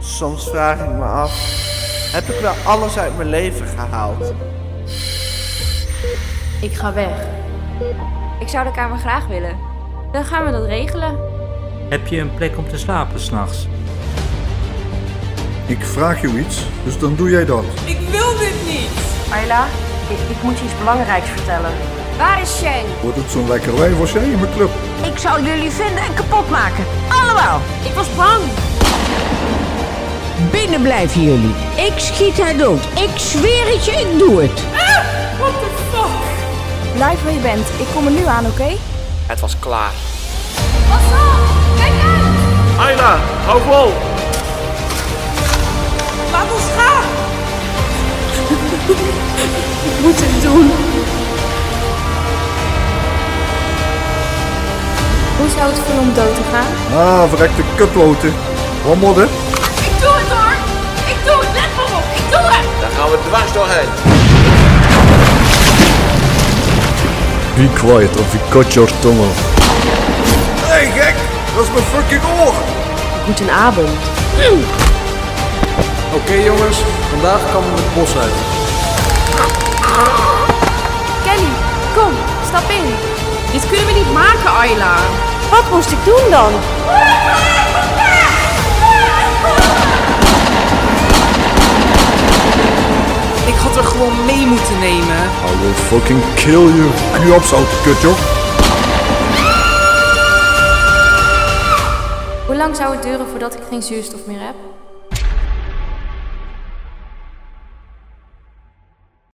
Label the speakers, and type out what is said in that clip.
Speaker 1: Soms vraag ik me af, heb ik wel alles uit mijn leven gehaald?
Speaker 2: Ik ga weg.
Speaker 3: Ik zou de kamer graag willen. Dan gaan we dat regelen.
Speaker 4: Heb je een plek om te slapen s'nachts?
Speaker 5: Ik vraag jou iets, dus dan doe jij dat.
Speaker 6: Ik wil dit niet!
Speaker 2: Ayla, ik, ik moet je iets belangrijks vertellen.
Speaker 3: Waar is Shane?
Speaker 5: Wordt het zo'n lekker wijf als jij in mijn club?
Speaker 2: Ik zou jullie vinden en kapot maken. Allemaal.
Speaker 3: Ik was bang.
Speaker 7: Binnen blijven jullie. Ik schiet haar dood. Ik zweer het je, ik doe het.
Speaker 3: Blijf waar je bent. Ik kom er nu aan, oké?
Speaker 8: Het was klaar.
Speaker 3: Pas op! Kijk uit!
Speaker 9: Ayla, hou vol!
Speaker 6: Laat ons gaan!
Speaker 3: Hoe zou het voelen om dood te gaan?
Speaker 5: Ah, verrekte kutloten. Wat modder?
Speaker 6: Ik doe het hoor! Ik doe het! Let maar op! Ik doe het!
Speaker 8: Daar gaan we dwars doorheen.
Speaker 5: Be quiet of we cut your tongue off. Hey gek, dat is mijn fucking oor!
Speaker 2: Goedenavond.
Speaker 5: Oké jongens, vandaag komen we het bos uit.
Speaker 3: Kelly, kom. Stap in.
Speaker 6: Dit kunnen we niet maken, Ayla!
Speaker 2: Wat moest ik doen dan?
Speaker 6: Ik had er gewoon mee moeten nemen.
Speaker 5: I will fucking kill you. En nu op zout, kut joh.
Speaker 3: Hoe lang zou het duren voordat ik geen zuurstof meer heb?